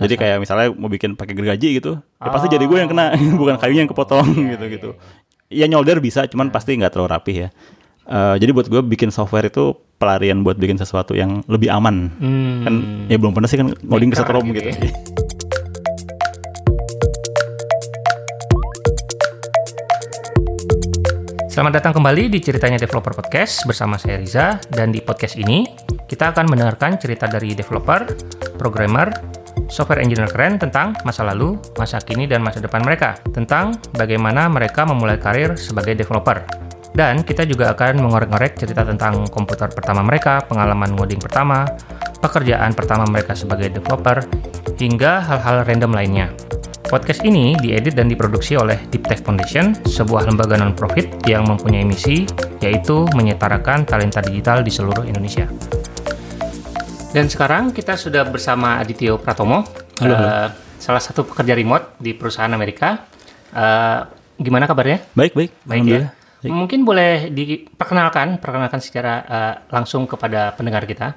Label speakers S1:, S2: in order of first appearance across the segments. S1: Jadi kayak misalnya mau bikin pakai gergaji gitu, ya pasti jadi gue yang kena,
S2: Ah.
S1: bukan kayunya yang kepotong
S2: Iya,
S1: gitu gitu. Ya nyolder bisa, cuman pasti nggak terlalu rapih ya. Eh, jadi buat gue bikin software itu pelarian buat bikin sesuatu yang lebih aman. Kan
S2: Hmm.
S1: ya belum pernah sih kan ngoding
S3: Maker
S1: kesetrum
S3: gitu
S1: gitu.
S3: ya.
S2: Selamat datang kembali di Ceritanya Developer Podcast bersama saya Riza dan di podcast ini kita akan mendengarkan cerita dari developer, programmer, software engineer keren tentang masa lalu, masa kini dan masa depan mereka, tentang bagaimana mereka memulai karir sebagai developer. Dan kita juga akan mengorek-ngorek cerita tentang komputer pertama mereka, pengalaman ngoding pertama, pekerjaan pertama mereka sebagai developer, hingga hal-hal random lainnya. Podcast ini diedit dan diproduksi oleh Deep Tech Foundation, sebuah lembaga non-profit yang mempunyai misi yaitu menyetarakan talenta digital di seluruh Indonesia. Dan sekarang kita sudah bersama Adityo Pratomo,
S1: Halo,
S2: eh,
S1: halo.
S2: salah satu pekerja remote di perusahaan Amerika. Eh, gimana kabarnya?
S1: Baik baik.
S2: Baik ya.
S1: Alhamdulillah. Baik.
S2: Mungkin boleh diperkenalkan, perkenalkan secara eh, langsung kepada pendengar kita.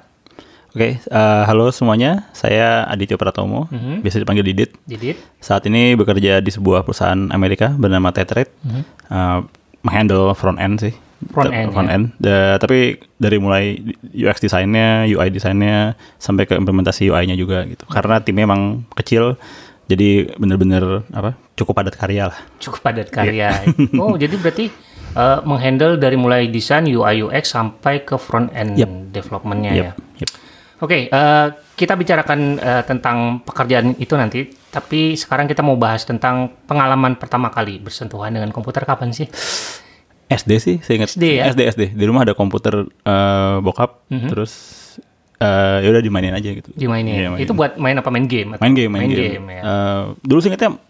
S1: Oke, eh, halo semuanya. Saya Aditya Pratomo,
S2: Mhm.
S1: biasa dipanggil Didit.
S2: Didit.
S1: Saat ini bekerja di sebuah perusahaan Amerika bernama Tetrate. Eh, menghandle front end sih.
S2: Mhm. Front end, ya.
S1: end. Da- tapi dari mulai UX desainnya, UI desainnya sampai ke implementasi UI-nya juga gitu. Karena timnya emang kecil jadi bener-bener apa? cukup padat karya lah. Iya.
S2: cukup padat karya. oh, jadi berarti uh, menghandle dari mulai desain UI UX sampai ke front end
S1: Yep.
S2: developmentnya ya.
S1: Yep, yep.
S2: Oke, eh, kita bicarakan eh, tentang pekerjaan itu nanti. Tapi sekarang kita mau bahas tentang pengalaman pertama kali bersentuhan dengan komputer kapan sih?
S1: SD sih, saya ingat.
S2: SD ya? Mhm.
S1: SD SD. Di rumah ada komputer eh, bokap, terus eh ya udah dimainin aja gitu. Iya,
S2: Dimainin.
S1: mainin.
S2: itu buat main apa main game? atau-
S1: main game, main, game.
S2: ya.
S1: Eh, dulu sih ingatnya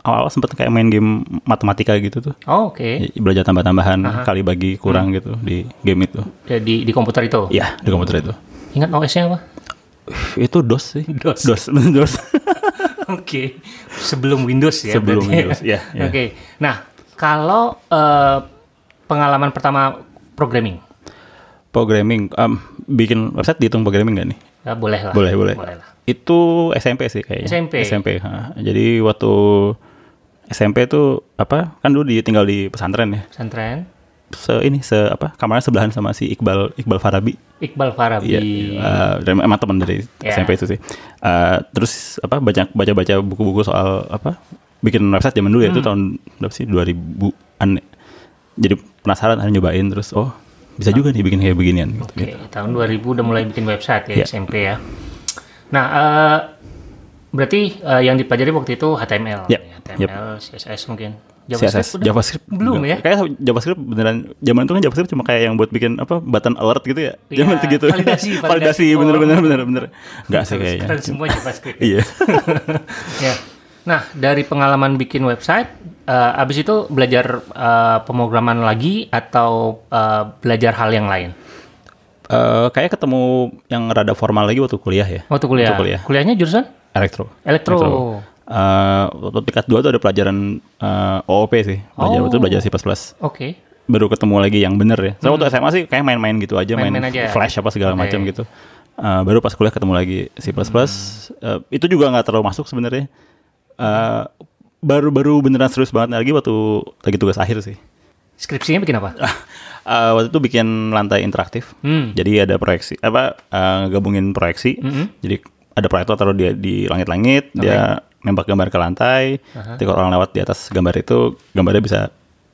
S1: awal-awal sempet kayak main game matematika gitu tuh.
S2: Oh,
S1: Ya,
S2: Oke,
S1: Belajar tambah-tambahan, kali bagi kurang gitu di game itu.
S2: di di komputer itu.
S1: Iya, di komputer itu.
S2: Ingat OS-nya apa?
S1: Ih, Itu DOS sih.
S2: DOS.
S1: DOS, DOS.
S2: Oke, sebelum Windows ya.
S1: Sebelum
S2: berarti.
S1: Windows, ya, ya.
S2: Oke, nah kalau eh, pengalaman pertama programming,
S1: programming. Em, bikin website dihitung programming nggak nih?
S2: ya, boleh lah.
S1: Boleh, boleh.
S2: lah.
S1: Itu SMP sih kayaknya.
S2: SMP.
S1: ha. Jadi waktu SMP tuh apa? Kan dulu di, tinggal di pesantren ya.
S2: Pesantren,
S1: Se ini se apa? Kamarnya sebelahan sama si Iqbal Iqbal Farabi.
S2: Iqbal Farabi.
S1: Iya, eh, dari- emang teman dari
S2: Ya.
S1: SMP itu sih. Eh, terus apa banyak baca-baca buku-buku soal apa bikin website zaman dulu ya
S2: Hmm.
S1: itu tahun berapa sih 2000-an. Jadi penasaran akhirnya nyobain terus oh bisa juga nih bikin kayak beginian gitu.
S2: Oke, tahun 2000 udah mulai bikin website ya
S1: Iya.
S2: SMP ya. Nah, eh, berarti eh, yang dipelajari waktu itu HTML,
S1: Iya. Yep,
S2: HTML, CSS mungkin.
S1: CSS,
S2: udah?
S1: JavaScript Iya,
S2: belum ya?
S1: Kayak JavaScript beneran zaman itu kan JavaScript cuma kayak yang buat bikin apa button alert gitu ya.
S2: Iya,
S1: Zaman segitu.
S2: validasi, validasi.
S1: validasi
S2: Oh.
S1: bener-bener bener-bener. Enggak sih
S2: Sekarang
S1: kayaknya.
S2: semua JavaScript. ya?
S1: Iya.
S2: Ya. Nah, dari pengalaman bikin website, eh, abis itu belajar eh, pemrograman lagi atau eh, belajar hal yang lain?
S1: Eh, kayak ketemu yang rada formal lagi waktu kuliah ya.
S2: Waktu kuliah.
S1: Waktu kuliah.
S2: Kuliahnya jurusan?
S1: Elektro.
S2: Elektro.
S1: Eh, waktu tingkat 2 tuh ada pelajaran eh, OOP sih. Belajar
S2: Oh.
S1: itu belajar C++.
S2: Oke.
S1: Baru ketemu lagi yang bener ya. Soalnya waktu SMA sih kayak main-main gitu aja, main,
S2: Hmm. Main-main aja. ya?
S1: flash apa segala
S2: Oke.
S1: macam gitu. Eh, baru pas kuliah ketemu lagi C++. Eh,
S2: Hmm.
S1: itu juga nggak terlalu masuk sebenarnya. Eh, baru-baru beneran serius banget lagi waktu lagi tugas akhir sih.
S2: Skripsinya bikin apa?
S1: Eh, waktu itu bikin lantai interaktif.
S2: Hmm.
S1: Jadi ada proyeksi apa eh, gabungin proyeksi. Jadi ada proyektor taruh dia di langit-langit, dia nembak gambar ke lantai. Ketika orang lewat di atas gambar itu, gambarnya bisa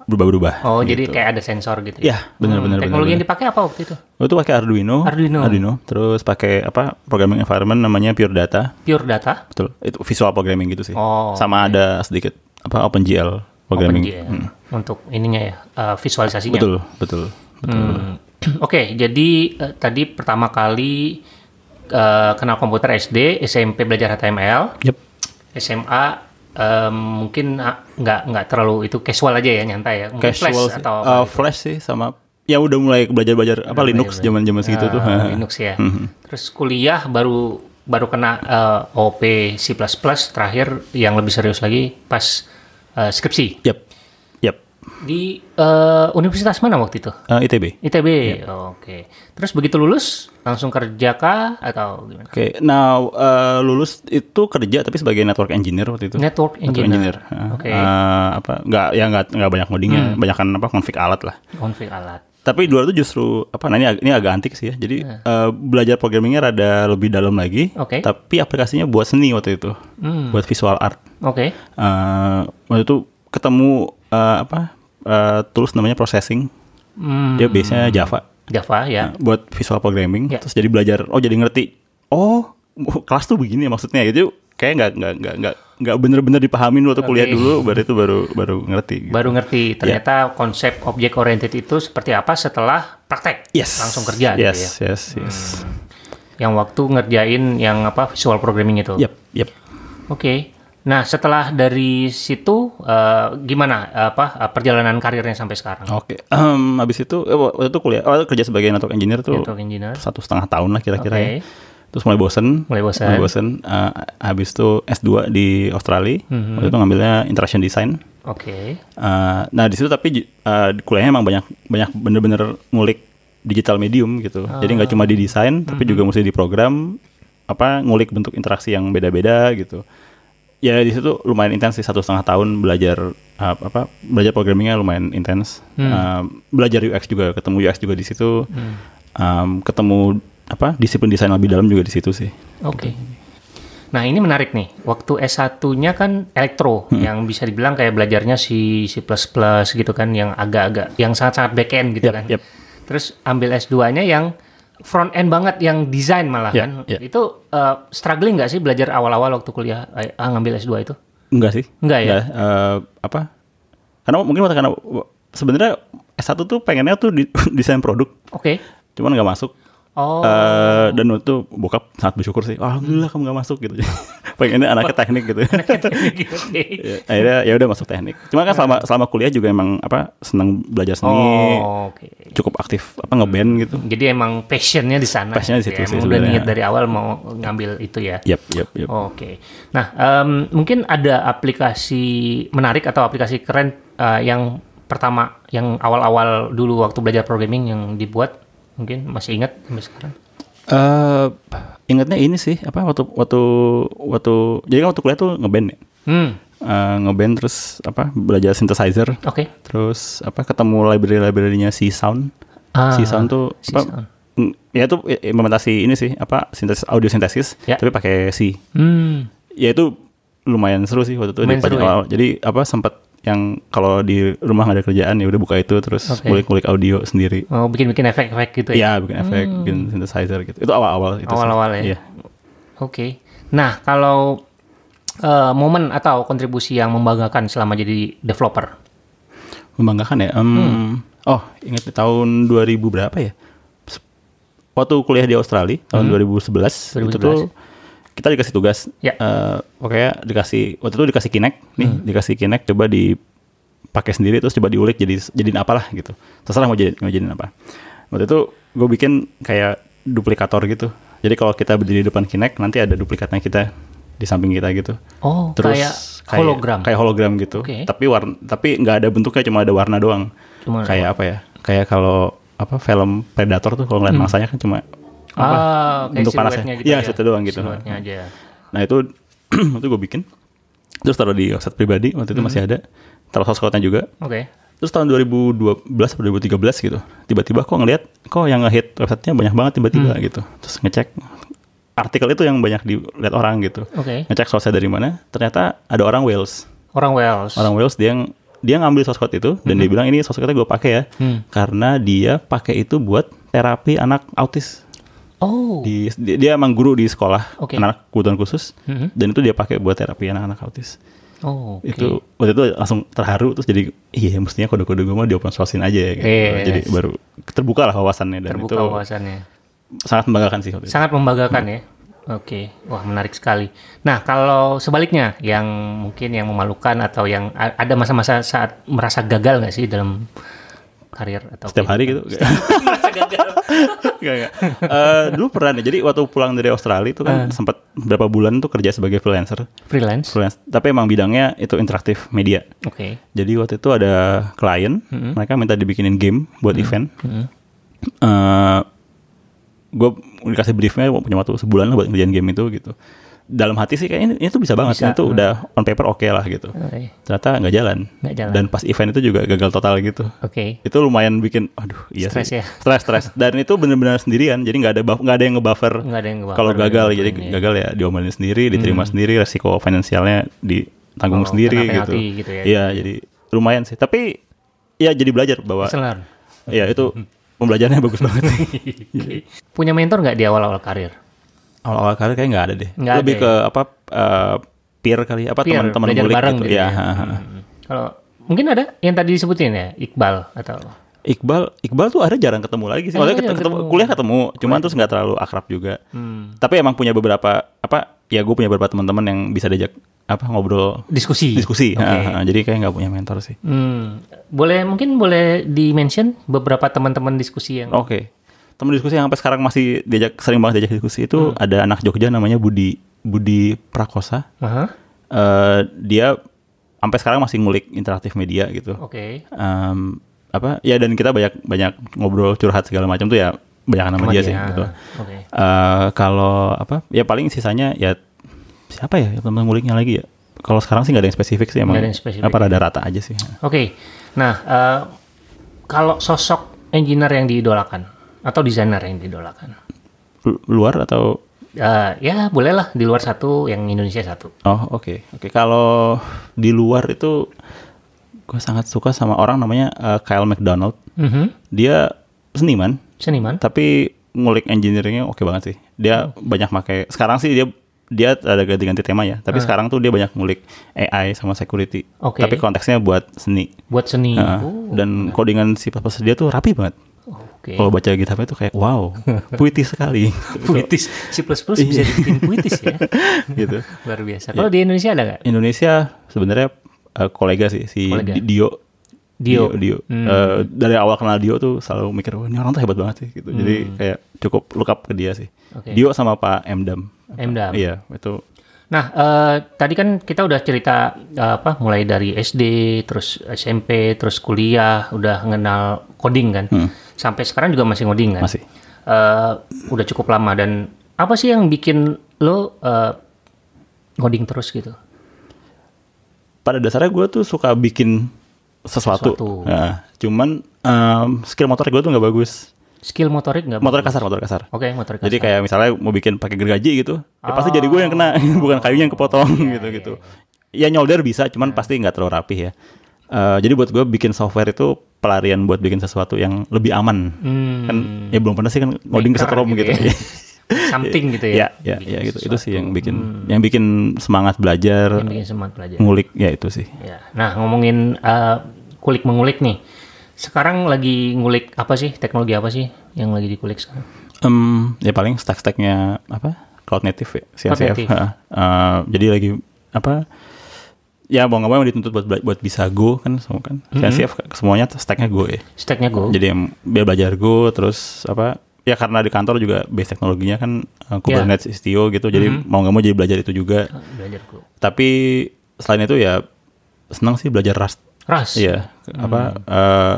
S1: berubah-berubah.
S2: Oh, jadi kayak ada sensor gitu.
S1: Iya, benar, benar,
S2: Teknologi
S1: benar,
S2: yang dipakai apa waktu itu?
S1: Waktu itu pakai Arduino,
S2: Arduino.
S1: terus pakai apa programming environment namanya Pure Data.
S2: Pure data.
S1: Betul. Itu visual programming gitu sih.
S2: Oh,
S1: Sama ada sedikit apa OpenGL programming. Hmm.
S2: OpenGL. iya. Untuk ininya ya, eh, visualisasinya.
S1: Betul, betul. betul.
S2: Hmm. Oke, jadi eh, tadi pertama kali eh, kenal komputer SD, SMP belajar HTML.
S1: Yep.
S2: SMA em, mungkin ah, nggak nggak terlalu itu casual aja ya nyantai ya mungkin flash
S1: Casual sih.
S2: atau apa
S1: Eh,
S2: gitu.
S1: flash sih sama ya udah mulai belajar-belajar apa Linux zaman-zaman segitu tuh.
S2: Ah, Linux ya terus kuliah baru baru kena eh, OP C++ terakhir yang lebih serius lagi pas eh, skripsi
S1: Yap. Yap.
S2: Di eh, universitas mana waktu itu?
S1: Eh, ITB.
S2: ITB. Oke. Terus begitu lulus langsung kerja kah atau gimana?
S1: Oke, nah eh, lulus itu kerja tapi sebagai network engineer waktu itu.
S2: Network
S1: Network
S2: engineer. Ah.
S1: Heeh.
S2: Oke. Hmm.
S1: Eh, apa nggak ya nggak nggak banyak codingnya, banyakkan apa konfig alat lah.
S2: Konflik alat.
S1: Tapi di luar itu justru apa? Nah ini, ag- ini agak antik sih ya. Jadi eh, belajar programmingnya rada lebih dalam lagi.
S2: Hmm. Oke.
S1: Tapi aplikasinya buat seni waktu itu,
S2: Hmm.
S1: buat visual art.
S2: Oke.
S1: Eh, waktu itu ketemu eh, apa eh, tools namanya processing.
S2: Hmm,
S1: Dia base-nya Java.
S2: Java ya.
S1: Nah, buat visual programming
S2: Ya.
S1: terus jadi belajar oh jadi ngerti oh kelas tuh begini maksudnya gitu kayak nggak nggak nggak nggak nggak bener-bener dipahamin waktu kuliah
S2: Oke.
S1: dulu baru itu baru baru ngerti gitu. Ya.
S2: Baru ngerti ternyata konsep objek oriented itu seperti apa setelah praktek.
S1: yes
S2: Langsung kerja gitu
S1: yes
S2: ya. Hmm.
S1: yes yes
S2: Yang waktu ngerjain yang apa visual programming itu.
S1: yep yep
S2: Oke. Nah, setelah dari situ eh, gimana eh, apa eh, perjalanan karirnya sampai sekarang?
S1: oke Em, habis itu eh, waktu itu kuliah oh, kerja sebagai network engineer tuh
S2: Network Gitu, engineer.
S1: satu setengah tahun lah kira-kira
S2: Oke.
S1: ya. terus mulai bosen
S2: Mulai bosan.
S1: mulai bosen Eh, habis itu S2 di Australia
S2: Hmm.
S1: waktu itu ngambilnya interaction design
S2: Oke.
S1: Eh, nah di situ tapi ju- eh, di kuliahnya emang banyak banyak bener-bener ngulik digital medium gitu. Jadi nggak cuma di desain tapi juga mesti di program apa ngulik bentuk interaksi yang beda-beda gitu. Ya di situ lumayan intens sih satu setengah tahun belajar eh, apa belajar programmingnya lumayan intens. Eh, belajar UX juga ketemu UX juga di situ. Em, ketemu apa disiplin desain lebih dalam juga di situ sih.
S2: Oke. Nah, ini menarik nih. Waktu S1-nya kan elektro
S1: Hmm.
S2: yang bisa dibilang kayak belajarnya si C++ gitu kan yang agak-agak yang sangat-sangat back end gitu
S1: Yap,
S2: kan.
S1: yap.
S2: Terus ambil S2-nya yang front end banget yang desain malah
S1: Ya,
S2: kan.
S1: ya.
S2: Itu eh, struggling nggak sih belajar awal-awal waktu kuliah eh, ah, ngambil S2 itu?
S1: Enggak sih.
S2: Enggak ya?
S1: eh, apa? Karena mungkin waktu- karena sebenarnya S1 tuh pengennya tuh di- desain produk,
S2: Oke.
S1: cuman nggak masuk.
S2: Oh.
S1: Eh, dan waktu itu bokap sangat bersyukur sih. Alhamdulillah kamu nggak masuk gitu. pengennya anaknya teknik gitu.
S2: Oke.
S1: Ya, Akhirnya ya udah masuk teknik. Cuma kan selama selama kuliah juga emang apa senang belajar seni,
S2: Oh, oke.
S1: cukup aktif apa ngeband gitu.
S2: Jadi emang passionnya di sana.
S1: Passionnya di situ
S2: gitu ya.
S1: sih
S2: Emang udah
S1: sebenarnya.
S2: niat dari awal mau ngambil itu ya.
S1: Yap, yap, yap.
S2: Oke. Nah, em, mungkin ada aplikasi menarik atau aplikasi keren eh, yang pertama, yang awal-awal dulu waktu belajar programming yang dibuat, mungkin masih ingat sampai sekarang.
S1: Eh, ingatnya ini sih apa waktu waktu waktu jadi kan waktu kuliah tuh ngeband ya.
S2: Hmm,
S1: Eh, ngeband terus apa belajar synthesizer
S2: oke.
S1: terus apa ketemu library-library-nya C Sound.
S2: Ah,
S1: C Sound tuh apa,
S2: C-Sound.
S1: mm, ya itu i- implementasi ini sih apa sintesis audio sintesis
S2: Ya.
S1: tapi pakai C.
S2: Hmm,
S1: Ya itu lumayan seru sih waktu itu di
S2: Lumayan
S1: pagi
S2: seru ya?
S1: awal. Jadi apa sempat yang kalau di rumah nggak ada kerjaan ya udah buka itu terus
S2: Oke.
S1: ngulik-ngulik audio sendiri.
S2: mau Oh, bikin-bikin efek-efek gitu ya?
S1: Iya, bikin efek, bikin synthesizer gitu. Itu awal-awal itu. sih.
S2: Awal-awal ya?
S1: Iya.
S2: Oke. Nah, kalau eh, momen atau kontribusi yang membanggakan selama jadi developer?
S1: Membanggakan ya. Em, Oh, ingat di tahun 2000 berapa ya? Se- Waktu kuliah di Australia tahun 2011, itu
S2: 2011.
S1: tuh kita dikasih tugas.
S2: Ya.
S1: Eh, pokoknya dikasih waktu itu dikasih Kinect nih, dikasih Kinect coba dipakai sendiri terus coba diulik jadi jadiin apalah gitu. Terserah mau jadi mau jadiin apa. Waktu itu gue bikin kayak duplikator gitu. Jadi kalau kita berdiri di depan Kinect nanti ada duplikatnya kita di samping kita gitu
S2: Oh,
S1: terus
S2: kayak hologram.
S1: kayak hologram gitu
S2: Oke.
S1: tapi warna tapi nggak ada bentuknya cuma ada warna doang
S2: Cuma ada
S1: kayak apa ya kayak kalau apa film Predator tuh kalau
S2: Hmm.
S1: ngeliat masanya kan cuma apa
S2: Ah, kayak
S1: bentuk panasnya
S2: siluetnya ya?
S1: iya situ doang gitu
S2: Siluetnya aja.
S1: nah itu itu gue bikin terus taruh di website pribadi waktu
S2: Hmm.
S1: itu masih ada taruh source code-nya juga
S2: Oke.
S1: terus tahun 2012 atau 2013 gitu tiba-tiba kok ngeliat kok yang ngehit websitenya banyak banget tiba-tiba
S2: Hmm.
S1: gitu terus ngecek artikel itu yang banyak dilihat orang gitu
S2: Oke.
S1: ngecek source dari mana ternyata ada orang Wales
S2: Orang Wales.
S1: orang Wales dia yang dia ngambil source code itu dan
S2: Hmm.
S1: dia bilang ini source code-nya gue pakai ya karena dia pakai itu buat terapi anak autis
S2: Oh.
S1: di di- dia emang guru di sekolah
S2: Oke.
S1: anak kebutuhan khusus dan itu dia pakai buat terapi anak-anak autis
S2: Oh, oke.
S1: itu waktu itu langsung terharu terus jadi iya mestinya kode-kode gue mah di open sourcein aja ya gitu.
S2: Yes.
S1: jadi baru terbuka lah wawasannya dan
S2: terbuka
S1: itu
S2: wawasannya.
S1: sangat membanggakan sih waktu itu.
S2: Sangat membanggakan ya. Oke, wah menarik sekali. Nah, kalau sebaliknya yang mungkin yang memalukan atau yang a- ada masa-masa saat merasa gagal nggak sih dalam karir atau
S1: setiap hari gitu
S2: merasa
S1: Enggak, enggak. Eh, dulu pernah nih. Jadi waktu pulang dari Australia itu
S2: Hmm.
S1: kan sempat berapa bulan tuh kerja sebagai freelancer.
S2: Freelance. Oke.
S1: Freelance. Tapi emang bidangnya itu interaktif media. Jadi waktu itu ada klien,
S2: Mm-hmm.
S1: mereka minta dibikinin game buat event. gue dikasih briefnya punya waktu sebulan lah buat ngerjain game itu gitu. Dalam hati sih kayaknya ini, ini tuh bisa banget,
S2: Bisa, mm-hmm.
S1: ini tuh udah on paper oke lah gitu.
S2: Oke.
S1: Ternyata nggak jalan.
S2: Eh, Nggak jalan.
S1: Dan pas event itu juga gagal total gitu
S2: Oke.
S1: itu lumayan bikin aduh iya
S2: Stres
S1: sih.
S2: ya?
S1: stres stres dan itu benar-benar sendirian jadi nggak ada buff- nggak ada yang ngebuffer
S2: Nggak ada yang ngebuffer,
S1: kalau
S2: nggak ada
S1: gagal
S2: yang
S1: jadi
S2: ngapain, ya.
S1: gagal ya diomelin sendiri diterima sendiri resiko finansialnya ditanggung
S2: Hmm. Oh,
S1: sendiri
S2: kena
S1: gitu
S2: penalti gitu ya.
S1: iya jadi lumayan sih tapi ya jadi belajar bahwa
S2: Lesson learned.
S1: ya itu pembelajarannya bagus banget Iya.
S2: Punya mentor nggak di awal-awal karir?
S1: awal-awal karir kayak nggak ada deh
S2: Nggak ada
S1: lebih
S2: ya?
S1: ke apa eh, peer kali apa
S2: Peer,
S1: teman-teman
S2: belajar
S1: ngulik
S2: bareng
S1: gitu,
S2: gitu
S1: ya,
S2: ya. Kalau mungkin ada yang tadi disebutin ya, Iqbal atau
S1: Iqbal, Iqbal tuh akhirnya jarang ketemu lagi sih.
S2: Akhirnya
S1: Maksudnya
S2: Iya, jarang
S1: ketemu,
S2: ketemu.
S1: kuliah ketemu, cuman terus nggak terlalu akrab juga.
S2: hmm,
S1: Tapi emang punya beberapa apa? Ya gue punya beberapa teman-teman yang bisa diajak apa ngobrol,
S2: diskusi.
S1: diskusi.
S2: Oke.
S1: Ha, ha, jadi kayak nggak punya mentor sih.
S2: Hmm, boleh mungkin boleh di mention beberapa teman-teman diskusi yang
S1: Oke. Teman diskusi yang sampai sekarang masih diajak sering banget diajak diskusi itu ada anak Jogja namanya Budi Budi Prakosa.
S2: Aha,
S1: Eh, dia sampai sekarang masih ngulik interaktif media gitu.
S2: Oke.
S1: Em, apa? Ya dan kita banyak banyak ngobrol curhat segala macam tuh ya banyak nama
S2: Sama
S1: dia,
S2: dia.
S1: sih gitu.
S2: Oke.
S1: Eh, kalau apa ya paling sisanya ya siapa ya teman nguliknya lagi ya kalau sekarang sih nggak ada yang spesifik sih emang
S2: Nggak ada yang spesifik.
S1: apa rada rata aja sih
S2: Oke. Nah, eh, kalau sosok engineer yang diidolakan atau desainer yang diidolakan.
S1: Lu- luar atau
S2: Eh, ya bolehlah di luar satu yang Indonesia satu.
S1: oh oke oke kalau di luar itu gue sangat suka sama orang namanya eh, Kyle McDonald dia seniman
S2: Seniman.
S1: tapi ngulik engineeringnya oke banget sih dia banyak pakai sekarang sih dia dia ada ganti-ganti tema ya tapi sekarang tuh dia banyak ngulik AI sama security
S2: Ah. Oke.
S1: tapi konteksnya buat seni
S2: Buat seni.
S1: Nah,
S2: Oh, Iya.
S1: dan codingan si pas dia tuh rapi banget.
S2: Oke.
S1: Kalau baca kitabnya tuh kayak wow, puitis sekali.
S2: Puitis. C++
S1: Iya.
S2: bisa dibikin puitis ya.
S1: gitu.
S2: Luar biasa. Kalau di Indonesia ada nggak?
S1: Indonesia sebenarnya eh, kolega sih si
S2: Kolega.
S1: Di- Dio.
S2: Dio. Hmm.
S1: Dio. Eh, dari awal kenal Dio tuh selalu mikir wah ini orang tuh hebat banget sih gitu. Jadi kayak cukup look up ke dia sih.
S2: Hmm. Oke.
S1: Dio sama Pak Emdam. Apa-
S2: Emdam.
S1: Iya, itu
S2: Nah, eh, tadi kan kita udah cerita eh, apa mulai dari SD, terus SMP, terus kuliah, udah ngenal coding kan. Sampai sekarang juga masih coding
S1: Hmm.
S2: kan?
S1: Masih.
S2: Eh, udah cukup lama dan apa sih yang bikin lo eh, coding terus gitu?
S1: pada dasarnya gue tuh suka bikin sesuatu.
S2: Sesuatu.
S1: Nah, cuman em, skill motor gue tuh nggak bagus.
S2: Skill motorik nggak?
S1: Motor kasar, motor kasar.
S2: Oke, motorik.
S1: Jadi kayak misalnya mau bikin pakai gergaji gitu, ya pasti jadi gue yang
S2: Ah.
S1: kena, bukan kayunya yang kepotong
S2: Iya,
S1: gitu gitu. Ya nyolder bisa, cuman pasti nggak terlalu rapih ya. Eh, jadi buat gue bikin software itu pelarian buat bikin sesuatu yang lebih aman.
S2: Hmm.
S1: Kan ya belum pernah sih kan ngoding ke
S2: Maker
S1: setrum
S2: gitu
S1: gitu.
S2: ya. something gitu ya.
S1: Ya, ya, ya gitu. Itu sih yang bikin yang bikin semangat
S2: Hmm. Yang
S1: belajar,
S2: bikin semangat belajar.
S1: ngulik ya itu sih.
S2: Ya. Nah, ngomongin kulik mengulik nih. Sekarang lagi ngulik apa sih? Teknologi apa sih yang lagi dikulik sekarang?
S1: Em, ya paling stack-stacknya apa cloud native ya,
S2: Cloud
S1: CNCF.
S2: native.
S1: Heeh. Eh, jadi lagi apa ya mau nggak mau emang dituntut buat bela- buat bisa go kan semua kan
S2: Mm-hmm.
S1: CNCF semuanya stacknya go ya.
S2: Stacknya Go.
S1: Jadi em, dia belajar go terus apa ya karena di kantor juga base teknologinya kan eh, Kubernetes Istio gitu jadi
S2: Mm-hmm.
S1: mau nggak mau jadi belajar itu juga.
S2: belajar Go.
S1: Tapi selain itu ya senang sih belajar Rust.
S2: Ras.
S1: Iya, apa
S2: Hmm.
S1: eh,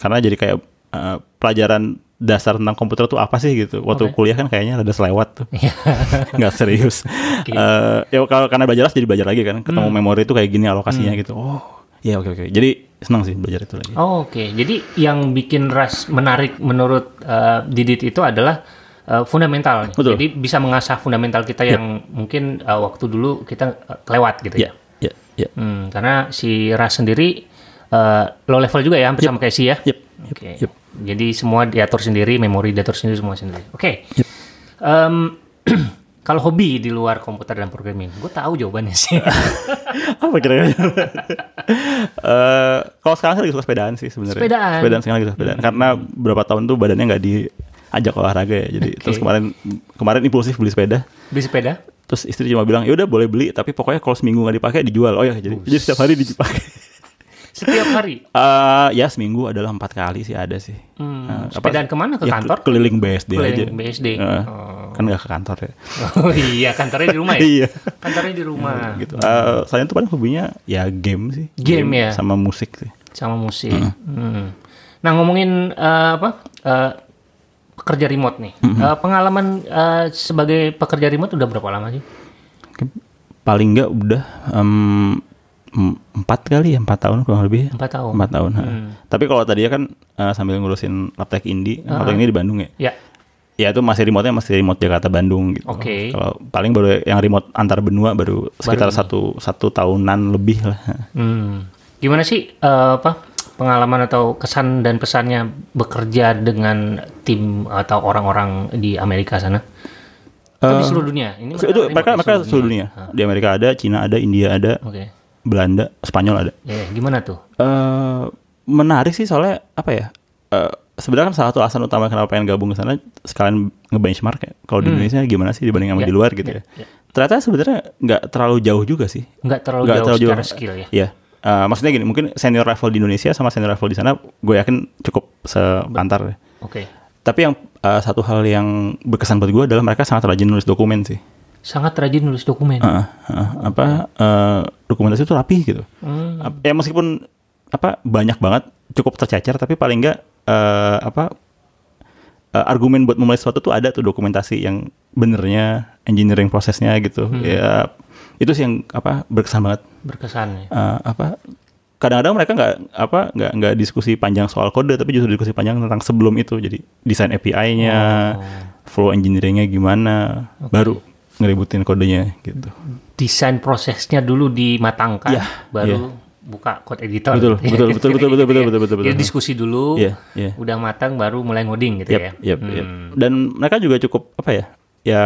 S1: karena jadi kayak eh, pelajaran dasar tentang komputer tuh apa sih gitu. Waktu kuliah kan kayaknya ada selewat tuh.
S2: Iya.
S1: nggak serius. Eh, ya kalau karena belajar jadi belajar lagi kan. Ketemu
S2: Hmm.
S1: memori itu kayak gini alokasinya gitu. Oh, iya oke oke. Jadi senang sih belajar itu lagi.
S2: Oh, Hmm. Oke. Jadi yang bikin Ras menarik menurut eh, Didit itu adalah eh, fundamental.
S1: Betul.
S2: Jadi bisa mengasah fundamental kita yang mungkin eh, waktu dulu kita eh, kelewat gitu
S1: Iya, iya,
S2: ya.
S1: iya.
S2: Hmm, karena si Ras sendiri eh, low level juga ya, hampir sama kayak si ya.
S1: Yep.
S2: Oke.
S1: Yep.
S2: Jadi semua diatur sendiri, memori diatur sendiri semua sendiri. Oke.
S1: Yep.
S2: Em, kalau hobi di luar komputer dan programming, gue tahu jawabannya sih.
S1: Apa kira-kira? Eh, kalau sekarang saya lagi suka sepedaan sih sebenarnya.
S2: Sepedaan. Hmm.
S1: Sepedaan sekarang lagi suka sepedaan. Karena berapa tahun tuh badannya nggak diajak olahraga ya. Jadi terus kemarin kemarin impulsif beli sepeda.
S2: Beli sepeda?
S1: terus iya, istri cuma bilang ya udah boleh beli tapi pokoknya kalau seminggu nggak dipakai dijual oh ya jadi jadi setiap hari dipakai
S2: Setiap hari.
S1: Eh, ya seminggu adalah empat kali sih ada sih.
S2: Hmm,
S1: Eh, apa-
S2: sepedaan kemana? Ke
S1: Ya,
S2: kantor?
S1: Keliling BSD aja.
S2: Keliling BSD.
S1: Eh,
S2: Oh.
S1: Kan nggak ke kantor ya.
S2: Oh iya, kantornya di rumah ya?
S1: Iya.
S2: Kantornya di rumah.
S1: gitu. Eh, saya tuh paling hobinya ya game sih.
S2: Game ya?
S1: Sama musik sih.
S2: Sama musik. Hmm. Nah, ngomongin eh, apa? eh, pekerja remote nih. Eh, pengalaman eh, sebagai pekerja remote udah berapa lama sih?
S1: Paling nggak udah em, em, empat kali ya empat tahun kurang lebih.
S2: Empat tahun. Hmm.
S1: Empat tahun. ha. Tapi kalau tadinya kan eh, sambil ngurusin laptek indie, kan laptek ini di Bandung ya.
S2: Ya.
S1: Ya itu masih remote-nya masih remote Jakarta Bandung gitu.
S2: Oke.
S1: Kalau paling baru yang remote antar benua baru sekitar satu satu tahunan lebih lah.
S2: Hmm. Gimana sih eh, apa pengalaman atau kesan dan pesannya bekerja dengan tim atau orang-orang di Amerika sana? Atau di seluruh dunia. Ini
S1: Eh, itu mereka
S2: remote di
S1: mereka seluruh dunia. Di Amerika ada, Cina ada, India ada,
S2: Oke.
S1: Belanda, Spanyol ada.
S2: Ya, gimana tuh?
S1: eh menarik sih soalnya apa ya? eh sebenarnya kan salah satu alasan utama kenapa pengen gabung ke sana sekalian ngebenchmark ya. Kalau di Indonesia gimana sih dibanding sama
S2: Ya,
S1: di luar gitu
S2: ya,
S1: ya. Ternyata sebenarnya nggak terlalu jauh juga sih.
S2: Nggak terlalu
S1: Nggak
S2: jauh
S1: terlalu
S2: secara
S1: jauh.
S2: skill ya.
S1: Iya. Eh, maksudnya gini, mungkin senior level di Indonesia sama senior level di sana gue yakin cukup sepantar.
S2: Oke.
S1: Tapi yang eh, satu hal yang berkesan buat gue adalah mereka sangat rajin nulis dokumen sih.
S2: Sangat rajin nulis dokumen.
S1: Heeh, heeh. apa eh, dokumentasi itu rapi gitu.
S2: Hmm,
S1: Ap- Ya meskipun apa banyak banget cukup tercecer tapi paling enggak eh, apa eh, argumen buat memulai sesuatu tuh ada tuh dokumentasi yang benernya engineering prosesnya gitu.
S2: Hmm.
S1: Ya itu sih yang apa berkesan banget.
S2: Berkesan ya.
S1: Eh, apa kadang-kadang mereka nggak apa nggak nggak diskusi panjang soal kode tapi justru diskusi panjang tentang sebelum itu jadi desain API-nya
S2: Oh.
S1: flow engineering-nya gimana baru ngeributin kodenya gitu
S2: Desain prosesnya dulu dimatangkan,
S1: Iya,
S2: baru buka code editor.
S1: Betul, betul, betul, betul, betul, betul, betul, betul,
S2: Jadi
S1: betul.
S2: diskusi dulu,
S1: Iya, iya.
S2: udah matang baru mulai ngoding gitu ya.
S1: Yap, yap, yap. Dan mereka juga cukup apa ya? Ya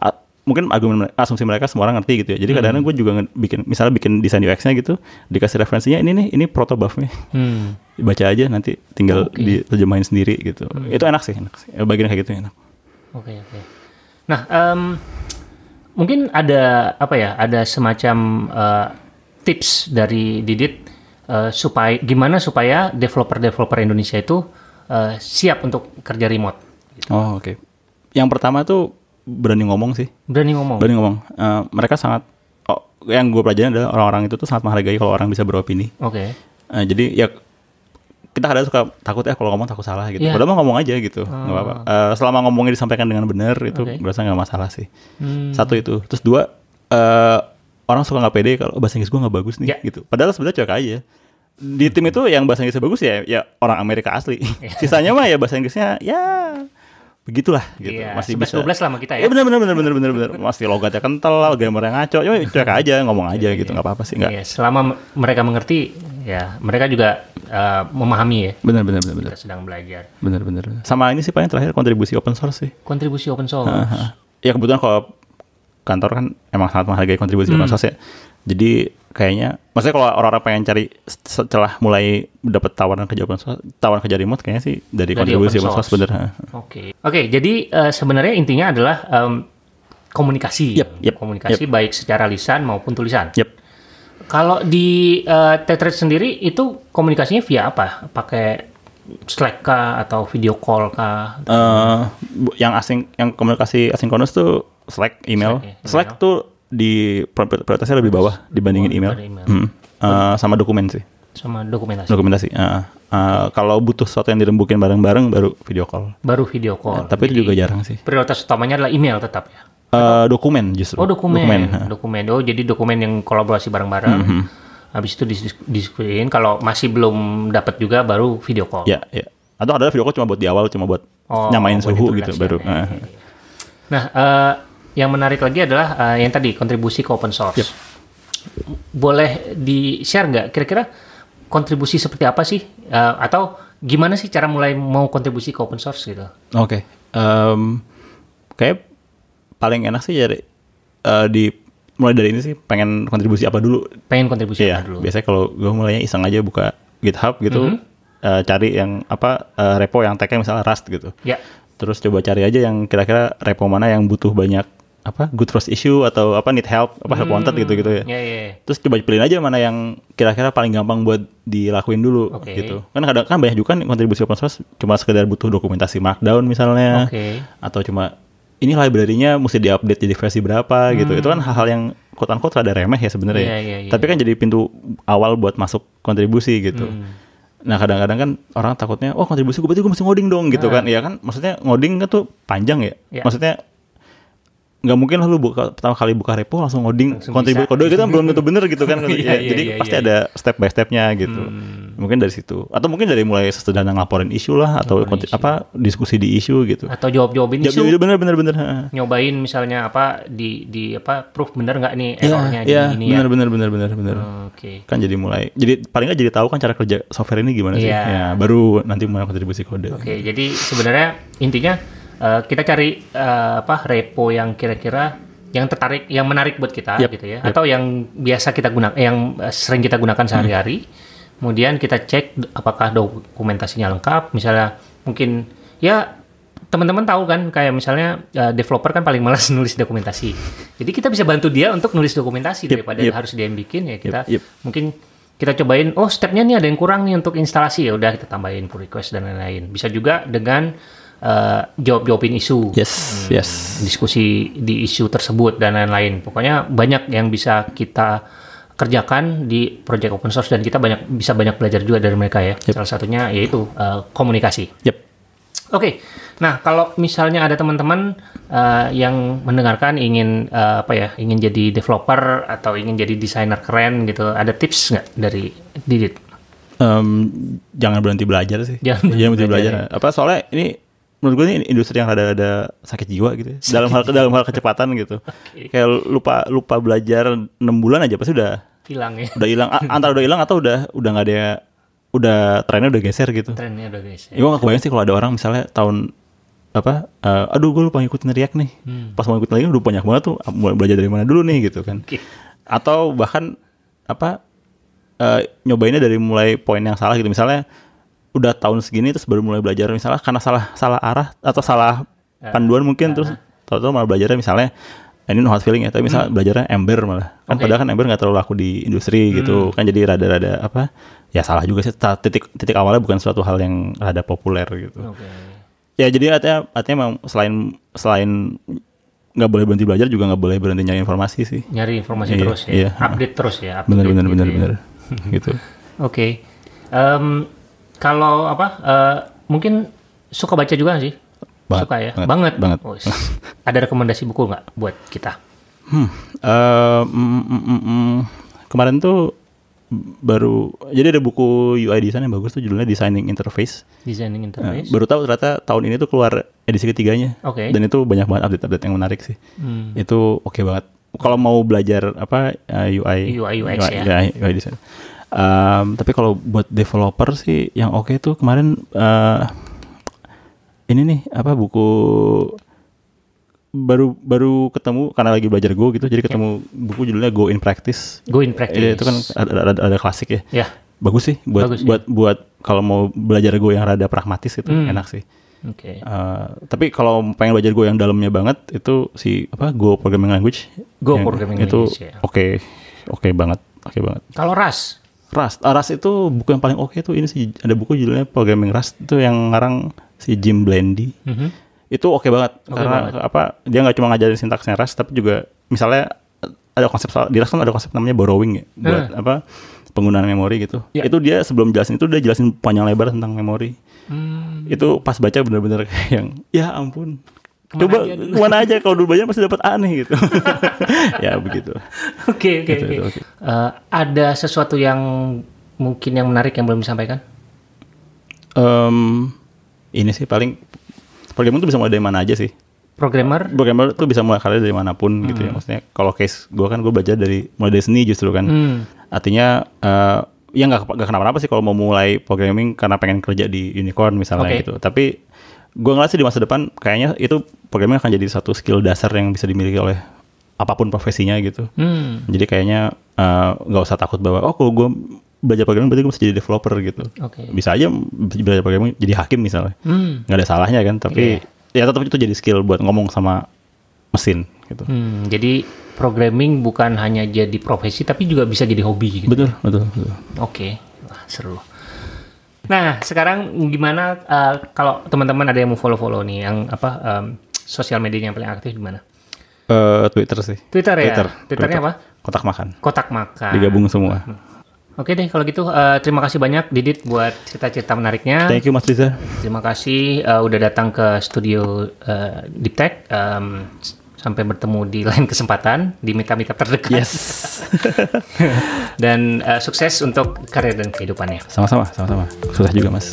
S1: a- mungkin argumen mere- asumsi mereka semua orang ngerti gitu ya. Jadi
S2: Hmm.
S1: kadang-kadang gue juga nge- bikin misalnya bikin desain UX-nya gitu, dikasih referensinya ini nih, ini protobuf-nya.
S2: Hmm.
S1: Baca aja nanti tinggal diterjemahin sendiri gitu.
S2: Hmm.
S1: Itu enak sih, enak sih. Eh, Bagian kayak gitu enak.
S2: Oke oke. Nah, em, mungkin ada apa ya? Ada semacam eh, tips dari Didit eh, supaya gimana supaya developer-developer Indonesia itu eh, siap untuk kerja remote.
S1: Oh, oke. Yang pertama tuh berani ngomong sih.
S2: Berani ngomong.
S1: Berani ngomong. Eh, mereka sangat oh, yang gue pelajari adalah orang-orang itu tuh sangat menghargai kalau orang bisa beropini.
S2: Oke.
S1: Eh, jadi ya kita kadang suka takut ya kalau ngomong takut salah gitu.
S2: Iya. Ah.
S1: Padahal mah ngomong aja gitu, nggak apa-apa. Eh, selama ngomongnya disampaikan dengan benar itu
S2: Oke.
S1: berasa nggak masalah sih.
S2: Hmm.
S1: Satu itu. Terus dua eh, orang suka nggak pede kalau "Oh, bahasa Inggris gue nggak bagus nih
S2: Iya.
S1: gitu. Padahal sebenarnya cuek aja. Di tim itu yang bahasa Inggrisnya bagus ya ya orang Amerika asli.
S2: Iya.
S1: Sisanya mah ya bahasa Inggrisnya ya begitulah gitu.
S2: Iya,
S1: Masih
S2: 11
S1: bisa.
S2: 12 lah sama kita
S1: Iya
S2: ya.
S1: benar benar benar benar benar benar. Masih logatnya kental, grammarnya ngaco. Cuma cuek aja, ngomong aja gitu, nggak apa-apa sih, nggak.
S2: Iya, selama m- mereka mengerti, ya mereka juga eh, memahami ya
S1: Benar benar benar benar.
S2: kita sedang belajar.
S1: Bener bener. Sama ini sih paling terakhir kontribusi open source sih.
S2: Kontribusi open source.
S1: Hah. Ya kebetulan kalau kantor kan emang sangat menghargai kontribusi open source ya. Jadi kayaknya, maksudnya kalau orang-orang pengen cari setelah mulai dapat tawaran kerja open source, tawaran kerja remote kayaknya sih dari,
S2: Dari
S1: kontribusi
S2: open
S1: open source, bener. Hah.
S2: Oke, oke. jadi eh, sebenarnya intinya adalah em, komunikasi,
S1: Yep, yep,
S2: komunikasi baik secara lisan maupun tulisan.
S1: Yep.
S2: Kalau di eh, Tetrate sendiri itu komunikasinya via apa? Pakai Slack kah atau video call kah?
S1: Eh, bu- yang asing, yang komunikasi asinkronus tuh Slack, email.
S2: Slack, ya, email.
S1: Slack tuh di prior- prioritasnya lebih bawah dibandingin email.
S2: daripada email.
S1: Hmm. Eh, sama dokumen sih,
S2: sama dokumentasi?
S1: dokumentasi. Heeh. Eh, kalau butuh sesuatu yang dirembukin bareng-bareng baru video call.
S2: Baru video call.
S1: Eh, Tapi itu juga jarang sih.
S2: prioritas utamanya adalah email tetap ya.
S1: Eh, dokumen justru.
S2: Oh dokumen,
S1: Dokumen. ah. Mhm.
S2: dokumen, Oh jadi dokumen yang kolaborasi bareng-bareng. Habis itu didis- diskusiin. Kalau masih belum dapat juga baru video call.
S1: Ya, ya. Atau ada video call cuma buat di awal, cuma buat
S2: Oh,
S1: nyamain
S2: buat
S1: suhu
S2: introduction,
S1: gitu baru.
S2: ya, ya,
S1: eh.
S2: ya. Nah, eh, yang menarik lagi adalah eh, yang tadi kontribusi ke open source. Boleh di share nggak kira-kira kontribusi seperti apa sih? Eh, atau gimana sih cara mulai mau kontribusi ke open source gitu?
S1: Oke. Em, kayak paling enak sih jadi eh, di mulai dari ini sih pengen kontribusi apa dulu.
S2: Pengen kontribusi
S1: Iya.
S2: apa dulu?
S1: Biasanya kalau gue mulainya iseng aja buka GitHub gitu, eh, cari yang apa eh, repo yang tag-nya misalnya Rust gitu.
S2: Ya,
S1: Terus coba cari aja yang kira-kira repo mana yang butuh banyak apa good trust issue atau apa need help apa help wanted gitu gitu ya
S2: Iya, iya, iya.
S1: terus coba pilihin aja mana yang kira-kira paling gampang buat dilakuin dulu
S2: Oke.
S1: gitu kan kadang kan banyak juga kan kontribusi open source cuma sekedar butuh dokumentasi markdown misalnya
S2: Oke.
S1: atau cuma ini library-nya mesti diupdate jadi versi berapa gitu itu kan hal-hal yang quote unquote rada remeh ya sebenarnya
S2: Hmm. Iya,
S1: ya.
S2: iya, iya.
S1: tapi kan jadi pintu awal buat masuk kontribusi gitu
S2: Hmm.
S1: nah kadang-kadang kan orang takutnya oh kontribusi gue berarti gue mesti ngoding dong gitu kan ya kan maksudnya ngoding kan tuh panjang ya
S2: Hmm. Iya.
S1: maksudnya nggak mungkin lah lu buka pertama kali buka repo langsung ngoding
S2: Langsung
S1: kontribut
S2: bisa.
S1: kode gitu kan belum tentu bener gitu kan
S2: Iya,
S1: Ya,
S2: iya,
S1: jadi
S2: iya,
S1: pasti
S2: iya. Hmm.
S1: ada step by stepnya gitu mungkin dari situ atau mungkin dari mulai sederhana ngelaporin isu lah atau konti- apa diskusi di isu gitu
S2: Atau jawab-jawabin
S1: Jawab
S2: isu.
S1: jujur bener bener bener.
S2: nyobain misalnya apa di di apa proof bener nggak nih
S1: Iya,
S2: errornya di
S1: iya,
S2: ini
S1: bener
S2: ya.
S1: bener bener bener bener.
S2: Oke.
S1: Kan jadi mulai, jadi paling nggak jadi tahu kan cara kerja software ini gimana sih?
S2: Iya.
S1: Ya, baru nanti mulai kontribusi kode.
S2: Oke, jadi sebenarnya intinya eh, kita cari eh, apa repo yang kira-kira yang tertarik, yang menarik buat kita
S1: Yap,
S2: gitu ya,
S1: yap. Hmm.
S2: atau yang biasa kita gunakan, yang eh, sering kita gunakan sehari-hari. Kemudian kita cek apakah dokumentasinya lengkap, misalnya mungkin ya teman-teman tahu kan kayak misalnya eh, developer kan paling malas nulis dokumentasi. Jadi kita bisa bantu dia untuk nulis dokumentasi
S1: Yap,
S2: daripada
S1: yap.
S2: harus dia yang bikin ya kita
S1: yap.
S2: mungkin kita cobain oh stepnya nih ada yang kurang nih untuk instalasi ya udah kita tambahin pull request dan lain-lain bisa juga dengan jawab jawabin isu
S1: Yes, yes.
S2: diskusi di isu tersebut dan lain-lain pokoknya banyak yang bisa kita kerjakan di project open source dan kita banyak bisa banyak belajar juga dari mereka ya salah satunya yaitu eh, komunikasi
S1: Yep.
S2: Oke, nah kalau misalnya ada teman-teman eh, yang mendengarkan ingin eh, apa ya, ingin jadi developer atau ingin jadi desainer keren gitu, ada tips nggak dari Didit?
S1: Em, jangan berhenti belajar sih. Iya,
S2: Jangan berhenti ya.
S1: berhenti belajar. Apa soalnya ini menurut gue ini industri yang rada-rada sakit jiwa gitu. ya. dalam hal dalam hal kecepatan gitu. Kayak lupa lupa belajar 6 bulan aja pasti udah
S2: Hilang ya
S1: udah hilang A- antara udah hilang atau udah udah nggak ada udah trennya udah geser gitu.
S2: trennya udah guys.
S1: Ya, gue gak kebayang sih kalau ada orang misalnya tahun apa eh, aduh gue lupa ngikutin React nih pas mau ngikutin lagi udah banyak banget tuh "Ah, mulai belajar dari mana dulu nih gitu kan
S2: Oke.
S1: atau bahkan apa eh, nyobainnya dari mulai poin yang salah gitu misalnya udah tahun segini terus baru mulai belajar misalnya karena salah salah arah atau salah panduan mungkin terus tahu-tahu malah belajarnya misalnya ini no hard feeling ya tapi misalnya belajarnya ember malah kan
S2: Oke.
S1: padahal kan ember nggak terlalu laku di industri gitu kan jadi rada-rada apa ya salah juga sih Ta- titik titik awalnya bukan suatu hal yang rada populer gitu
S2: Oke.
S1: ya jadi artinya artinya memang selain selain nggak boleh berhenti belajar juga nggak boleh berhenti nyari informasi sih
S2: Nyari informasi
S1: Iya,
S2: terus ya,
S1: iya.
S2: update terus ya. up to
S1: bener
S2: date
S1: bener
S2: gitu
S1: bener
S2: ya.
S1: bener gitu
S2: Oke, Em, kalau apa? eh, mungkin suka baca juga nggak sih?
S1: Banget,
S2: suka ya, banget.
S1: banget, banget.
S2: Wes. ada rekomendasi buku nggak buat kita?
S1: Hmm, eh, mm, mm, mm, mm. kemarin tuh baru jadi ada buku UI design yang bagus tuh judulnya Designing Interface. Nah,
S2: Designing interface.
S1: baru tahu ternyata tahun ini tuh keluar edisi ketiganya.
S2: Oke.
S1: Dan itu banyak banget update-update yang menarik sih.
S2: Hmm.
S1: Itu oke banget. Kalau mau belajar apa eh, UI
S2: UI, UX ya.
S1: UI design. Um, tapi kalau buat developer sih yang oke tuh kemarin eh, ini nih apa buku baru baru ketemu karena lagi belajar Go gitu jadi ketemu buku judulnya Go in Practice.
S2: Ya. Go in
S1: Eh,
S2: practice.
S1: Itu kan ada, ada, ada klasik ya
S2: Ya.
S1: bagus sih buat
S2: Bagus, ya.
S1: buat buat kalau mau belajar Go yang rada pragmatis itu
S2: Hmm.
S1: enak sih.
S2: Oke.
S1: Eh, tapi kalau pengen belajar Go yang dalamnya banget itu si apa Go programming language.
S2: Go
S1: Yang
S2: programming
S1: itu
S2: language, ya.
S1: Oke. Oke banget. Oke banget.
S2: Kalau Ras,
S1: Rust. Ah, Rust itu buku yang paling oke tuh ini sih ada buku judulnya Programming Rust itu yang ngarang si Jim Blandy. Itu oke banget karena apa dia nggak cuma ngajarin sintaksnya Rust tapi juga misalnya ada konsep soal- di Rust kan ada konsep namanya borrowing ya buat apa penggunaan memori gitu.
S2: Hmm. Ya.
S1: Itu dia sebelum jelasin itu dia jelasin panjang lebar tentang memori.
S2: Hmm,
S1: Itu pas baca bener-bener kayak yang ya ampun.
S2: Kemana
S1: Coba
S2: aja dulu?"
S1: kemana aja kalau dulu belajar pasti dapat aneh gitu. ya begitu.
S2: oke oke
S1: Gitu,
S2: oke.
S1: itu oke.
S2: Eh, Ada sesuatu yang mungkin yang menarik yang belum disampaikan?
S1: Em, ini sih paling programmer tuh bisa mulai dari mana aja sih.
S2: Programmer?
S1: Programmer tuh bisa mulai karir dari manapun gitu ya.
S2: Hmm.
S1: Maksudnya kalau case gue kan gue belajar dari mulai dari seni justru kan.
S2: Hmm.
S1: Artinya eh ya nggak nggak kenapa-napa sih kalau mau mulai programming karena pengen kerja di unicorn misalnya
S2: Oke.
S1: gitu. Tapi gue ngerasa di masa depan kayaknya itu programming akan jadi satu skill dasar yang bisa dimiliki oleh apapun profesinya gitu.
S2: Hmm.
S1: Jadi kayaknya eh, nggak usah takut bahwa oh kalau gue belajar programming berarti gue mesti jadi developer gitu.
S2: Oke.
S1: Bisa aja belajar programming jadi hakim misalnya Iya.
S2: Hmm.
S1: nggak ada salahnya kan tapi ya tetap itu jadi skill buat ngomong sama mesin gitu.
S2: Hmm, jadi programming bukan hanya jadi profesi tapi juga bisa jadi hobi gitu.
S1: Betul, betul, betul.
S2: Oke, Wah, seru. Nah, sekarang gimana uh, kalau teman-teman ada yang mau follow-follow nih yang apa um, sosial medianya yang paling aktif di mana?
S1: Eh, Twitter sih.
S2: Twitter ya?
S1: Twitter.
S2: Twitternya apa?
S1: Kotak makan.
S2: Kotak makan.
S1: Digabung semua.
S2: Oke deh, kalau gitu uh, terima kasih banyak Didit buat cerita-cerita menariknya.
S1: Thank you Mas Liza.
S2: Terima kasih uh, udah datang ke studio uh, Deep Tech. Um, s- sampai bertemu di lain kesempatan di meetup-meetup terdekat.
S1: Yes.
S2: Dan uh, sukses untuk karir dan kehidupannya.
S1: Sama-sama, sama-sama. Susah juga Mas.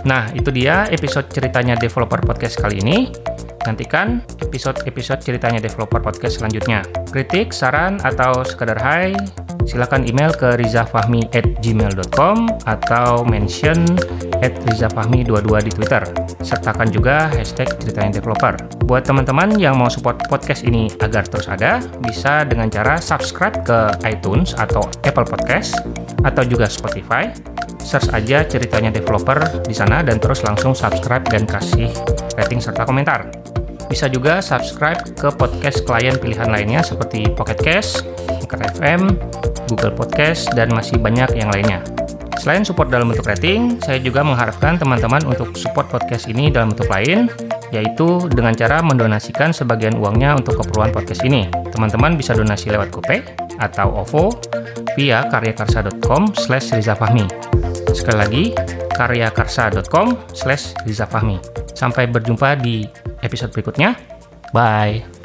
S2: Nah, itu dia episode ceritanya Developer Podcast kali ini. Nantikan episode-episode ceritanya Developer Podcast selanjutnya. Kritik, saran, atau sekedar hai, silakan email ke rizafahmi at gmail.com atau mention at rizafahmi22 di Twitter. Sertakan juga hashtag ceritanya developer. Buat teman-teman yang mau support podcast ini agar terus ada, bisa dengan cara subscribe ke iTunes atau Apple Podcast atau juga Spotify search aja ceritanya developer di sana dan terus langsung subscribe dan kasih rating serta komentar. Bisa juga subscribe ke podcast klien pilihan lainnya seperti Pocket Cast, Anchor FM, Google Podcast, dan masih banyak yang lainnya. Selain support dalam bentuk rating, saya juga mengharapkan teman-teman untuk support podcast ini dalam bentuk lain, yaitu dengan cara mendonasikan sebagian uangnya untuk keperluan podcast ini. Teman-teman bisa donasi lewat GoPay atau OVO via karyakarsa.com slash rizafahmi. Sekali lagi, karyakarsa.com slash rizafahmi. Sampai berjumpa di episode berikutnya. Bye!